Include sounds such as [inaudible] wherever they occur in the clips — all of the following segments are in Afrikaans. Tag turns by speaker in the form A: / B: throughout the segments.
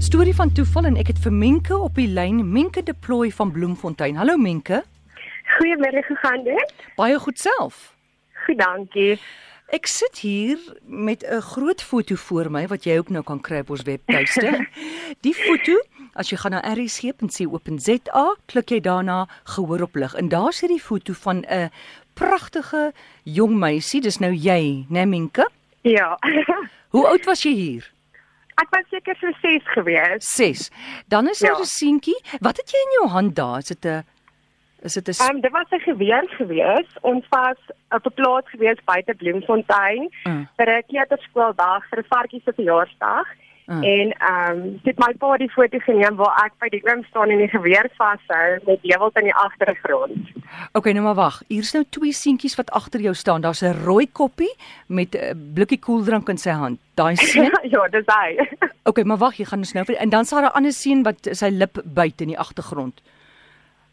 A: storie van toeval en ek het vir Menke op die lyn, Menke De Plooi van Bloemfontein. Hallo Menke.
B: Goeiemiddag, hoe gaan dit?
A: Baie goed self.
B: Goed, dankie.
A: Ek sit hier met 'n groot foto voor my wat jy ook nou kan kry op ons webtuiste. Die foto, as jy gaan na rsg.co.za, klik jy daarna gehoor op lig en daar's hierdie foto van 'n pragtige jong meisie, dis nou jy, né Menke? [laughs]
B: Ja.
A: Hoe oud was jy hier?
B: Ek was seker so 6 gewees.
A: 6. Dan is daar
B: Ja.
A: 'n seentjie. Wat het jy in jou hand daar? Is dit 'n Is dit 'n
B: Ehm um, dit was 'n geweer gewees. Ons was op 'n plaas gewees buite Bloemfontein
A: Mm.
B: vir 'n kleuterskooldag vir 'n varkie se verjaarsdag.
A: Mm.
B: En ehm um, dit my pa die foto geneem waar ek by die oom staan en die geweer vashou met heuwels aan die agtergrond.
A: Okay, nou maar wag. Hier's nou twee seentjies wat agter jou staan. Daar's 'n rooi koppie met 'n blikkie koeldrank in sy hand. Daai
B: [laughs]
A: seun.
B: ja, dis hy.
A: [laughs] Okay, maar wag, jy gaan ons nou vir en dan sal daar 'n ander seun wat sy lip byt in die agtergrond.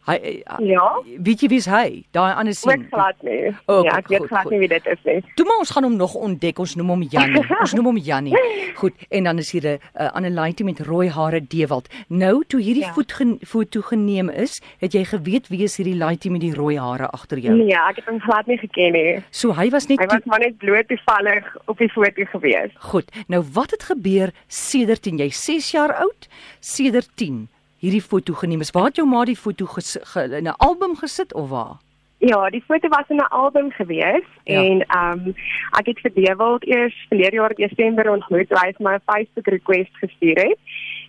A: Hy hy-
B: ja.
A: weet jy wie's hy? Daai ander
B: Ook
A: seun.
B: glad nie.
A: Ook,
B: ja, ek weet
A: goed,
B: glad
A: goed.
B: nie wie dit is nie.
A: Toe maar ons gaan hom nog ontdek. Ons noem hom Jannie.
B: [laughs]
A: Ons noem hom Jannie. Goed, en dan is hier 'n uh, ander laaitjie met rooi hare Dewald. Nou toe hierdie ja.
B: Ja.
A: voet gen, foto geneem is, het jy geweet wie is hierdie laaitjie met die rooi hare agter jou?
B: Nee, ek het hom glad nie geken nie.
A: So hy was net
B: Hy was
A: toe,
B: maar net bloot toevallig op die foto gewees.
A: goed. Nou wat het gebeur sedert 10? Jy 6 jaar oud? Sedert 10 hierdie foto geneem is. Waar het jou ma die foto ges, ge, in 'n album gesit of waar?
B: Ja, die foto was in 'n album gewees
A: Ja.
B: en ehm um, ek het vir Dewald eers verlede jaar in Desember ontmoet, toe hy het my 'n Facebook request gestuur het.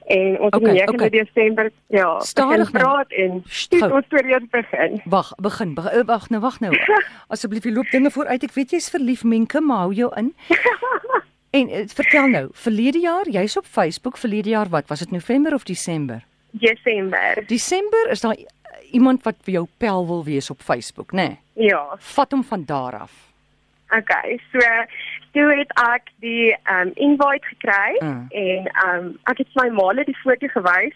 B: En ons
A: Okay,
B: het in
A: okay.
B: okay. Desember ja,
A: Stadig
B: begin
A: nou.
B: praat en
A: Sst,
B: toe
A: gou.
B: het ons weer eens begin.
A: Wag, begin. beg- eh, Wag nou, wag nou. Asseblief, jy loop dinge vooruit. Ek weet jy's verlief, Menke, maar hou jou in. En eh, vertel nou, verlede jaar, jy's op Facebook, verlede jaar wat? Was dit November of Desember?
B: Desember.
A: Desember is daar i- iemand wat vir jou pel wil wees op Facebook, né? Nee.
B: Ja.
A: Vat hom van daar af.
B: Okay, so toe het ek die um invite gekry
A: Mm.
B: en um ek het vir my maale die foto gewys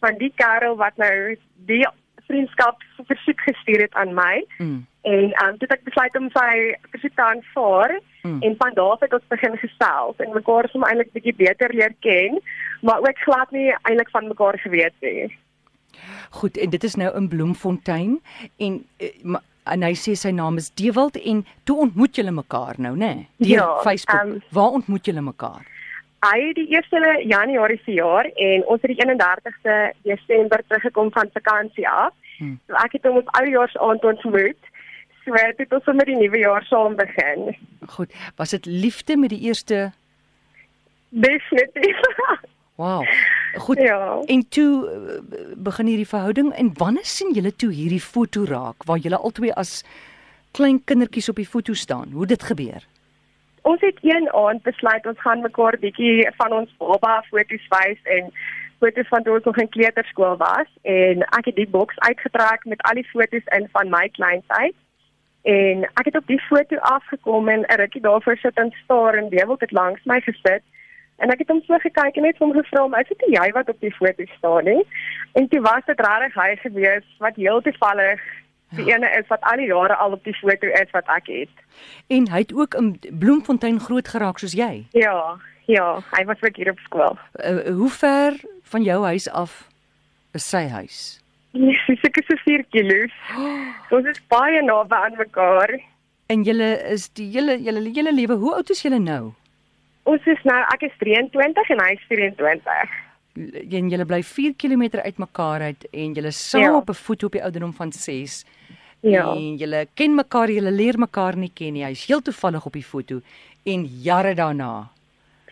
B: van die kerel wat nou die vriendskap versoek gestuur het aan my
A: Mm.
B: en um toe het ek besluit om sy versoek te aanvaar
A: Mm.
B: en van daar af het ons begin gesels en mekaar sommer eintlik bietjie beter leer ken, maar ook glad nie eintlik van mekaar geweet nie.
A: Goed, en dit is nou in Bloemfontein en eh, ma- en hy sê sy naam is Dewald en toe ontmoet julle mekaar nou, né? Nee? Deur
B: Ja,
A: Facebook.
B: ehm,
A: Waar ontmoet julle mekaar?
B: Hy het die 1 Januarie se jaar en ons het die 31ste Desember teruggekom van vakansie af.
A: Hmm.
B: Hmm. So ek het hom op oujaarsaand ontmoet. So dit het ons sommer die nuwe jaar saam begin.
A: Goed, was dit liefde met die eerste
B: Definitief.
A: Wow. Goed.
B: [laughs] Ja.
A: En toe eh, be- begin hierdie verhouding en wanneer sien julle toe hierdie foto raak waar julle albei as klein kindertjies op die foto staan? Hoe dit gebeur?
B: ons het een aand besluit ons gaan mekaar bietjie van ons baba foto's wys en foto's van toe ons nog in kleuterskool was en ek het die boks uitgetrek met al die foto's in van my kleintyd. En ek het op die foto afgekom en 'n rukkie daarvoor sit en staar en Dewald het langs my gesit. En ek het hom so gekyk en net vir hom gevra, "Maar "Is dit nie jy wat op die foto staan nie?" En toe was dit regtig hy gewees wat heel toevallig die ene is wat al die jare al op die foto is wat ek het.
A: En hy het ook in Bloemfontein groot geraak soos jy.
B: Ja, ja, hy was ook hier op skool.
A: Uh, hoe ver van jou huis af is sy huis?
B: Dis seker so 4 kg. So ons is baie naby aan mekaar.
A: En julle is die julle julle julle lewe, hoe oud is julle nou?
B: Ons is nou ek is 23 en hy is 24.
A: L- En julle bly 4 km uitmekaar uit en julle saam ja.
B: Ja.
A: op 'n voet op die ouderdom van 6.
B: Ja.
A: En julle ken mekaar, julle leer mekaar nie ken nie. Hy's heel toevallig op die foto en jare daarna.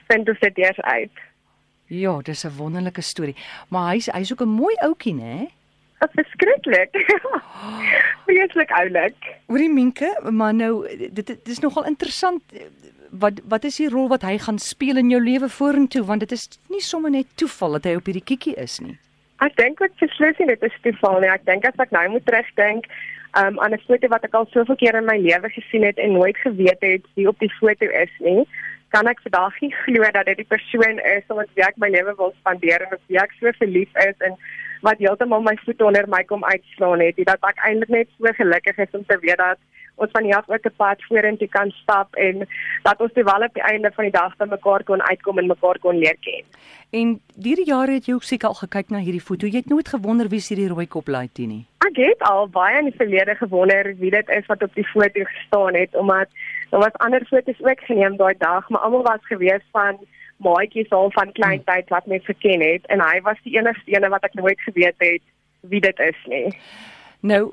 B: Vind ons dit eers uit.
A: Ja, dis 'n wonderlike storie. Maar hy's hy's ook 'n mooi ouetjie, né?
B: Dit is skrikkelik. [laughs] Vreeslik oulik.
A: Hoorie Minke, maar nou dit dit is nogal interessant eh, wat wat is die rol wat hy gaan speel in jou lewe vorentoe want dit is nie sommer net toeval dat hy op hierdie kiekie is nie.
B: Ek dink ek beslis nie dit is toeval nie. Ek dink as ek nou moet terugdink um, aan 'n foto wat ek al soveel keer in my lewe gesien het en nooit geweet het wie op die foto is nie, kan ek vandag [laughs] nie glo dat dit die persoon is wat ek my lewe wil spandeer en op wie ek so verlief is en wat heeltemal my voet onder my kom uitslaan het, dat ek eintlik net so gelukkig is om te weet dat ons van hier af ook 'n pad vorentoe kan stap en dat ons terwyl op die einde van die dag by mekaar kon uitkom en mekaar kon leer ken.
A: En hierdie jare het jy ook seker al gekyk na hierdie foto. Jy het nooit gewonder wie is hierdie rooi koplaaitie nie.
B: Ek het al baie in die verlede gewonder wie dit is wat op die foto gestaan het omdat daar was ander foto's ook geneem daai dag, maar almal was gewees van maatjies al van
A: Hmm.
B: kleintyd wat mens geken het en hy was die enigste een wat ek nooit geweet het wie dit is nie.
A: Nou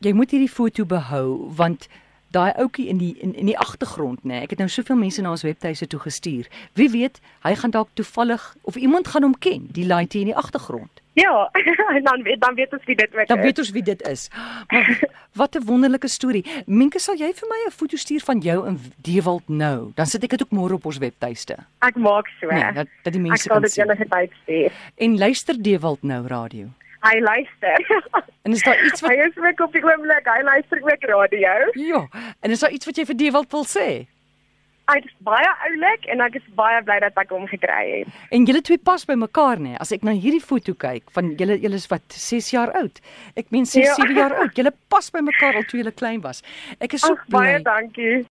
A: jy moet hierdie foto behou want daai ouetjie in die in, in die agtergrond nê. Ek het nou soveel mense na ons webtuise toe gestuur. Wie weet, hy gaan dalk toevallig of iemand gaan hom ken, die laaitjie in die agtergrond.
B: Ja, [laughs] en dan weet dan weet ons wie dit ook
A: Dan
B: is.
A: weet ons wie dit is. Maar wat 'n wonderlike storie. Menke, sal jy vir my 'n foto stuur van jou in Dewald nou? Dan sit ek dit ook môre op ons webtuiste.
B: Ek maak so.
A: Nee, dat dat die
B: Eh, ek
A: mense
B: sal
A: kan
B: dit
A: sien.
B: enige tyd stuur.
A: En luister Dewald nou radio. [laughs]
B: Hy luister.
A: En is daar iets
B: hy
A: wat
B: is ook op die oomblik, hy luister ook radio.
A: ja, en is daar iets wat jy vir Dewald wil sê?
B: Hy is baie oulik en ek is baie bly dat ek hom gekry het.
A: En julle twee pas by mekaar nê. As ek na hierdie foto kyk van julle julle is wat 6 jaar oud. Ek meen 6
B: Ja.
A: 7 jaar oud. Julle pas by mekaar al toe julle klein was. Ek is so
B: Ag,
A: bly.
B: baie dankie.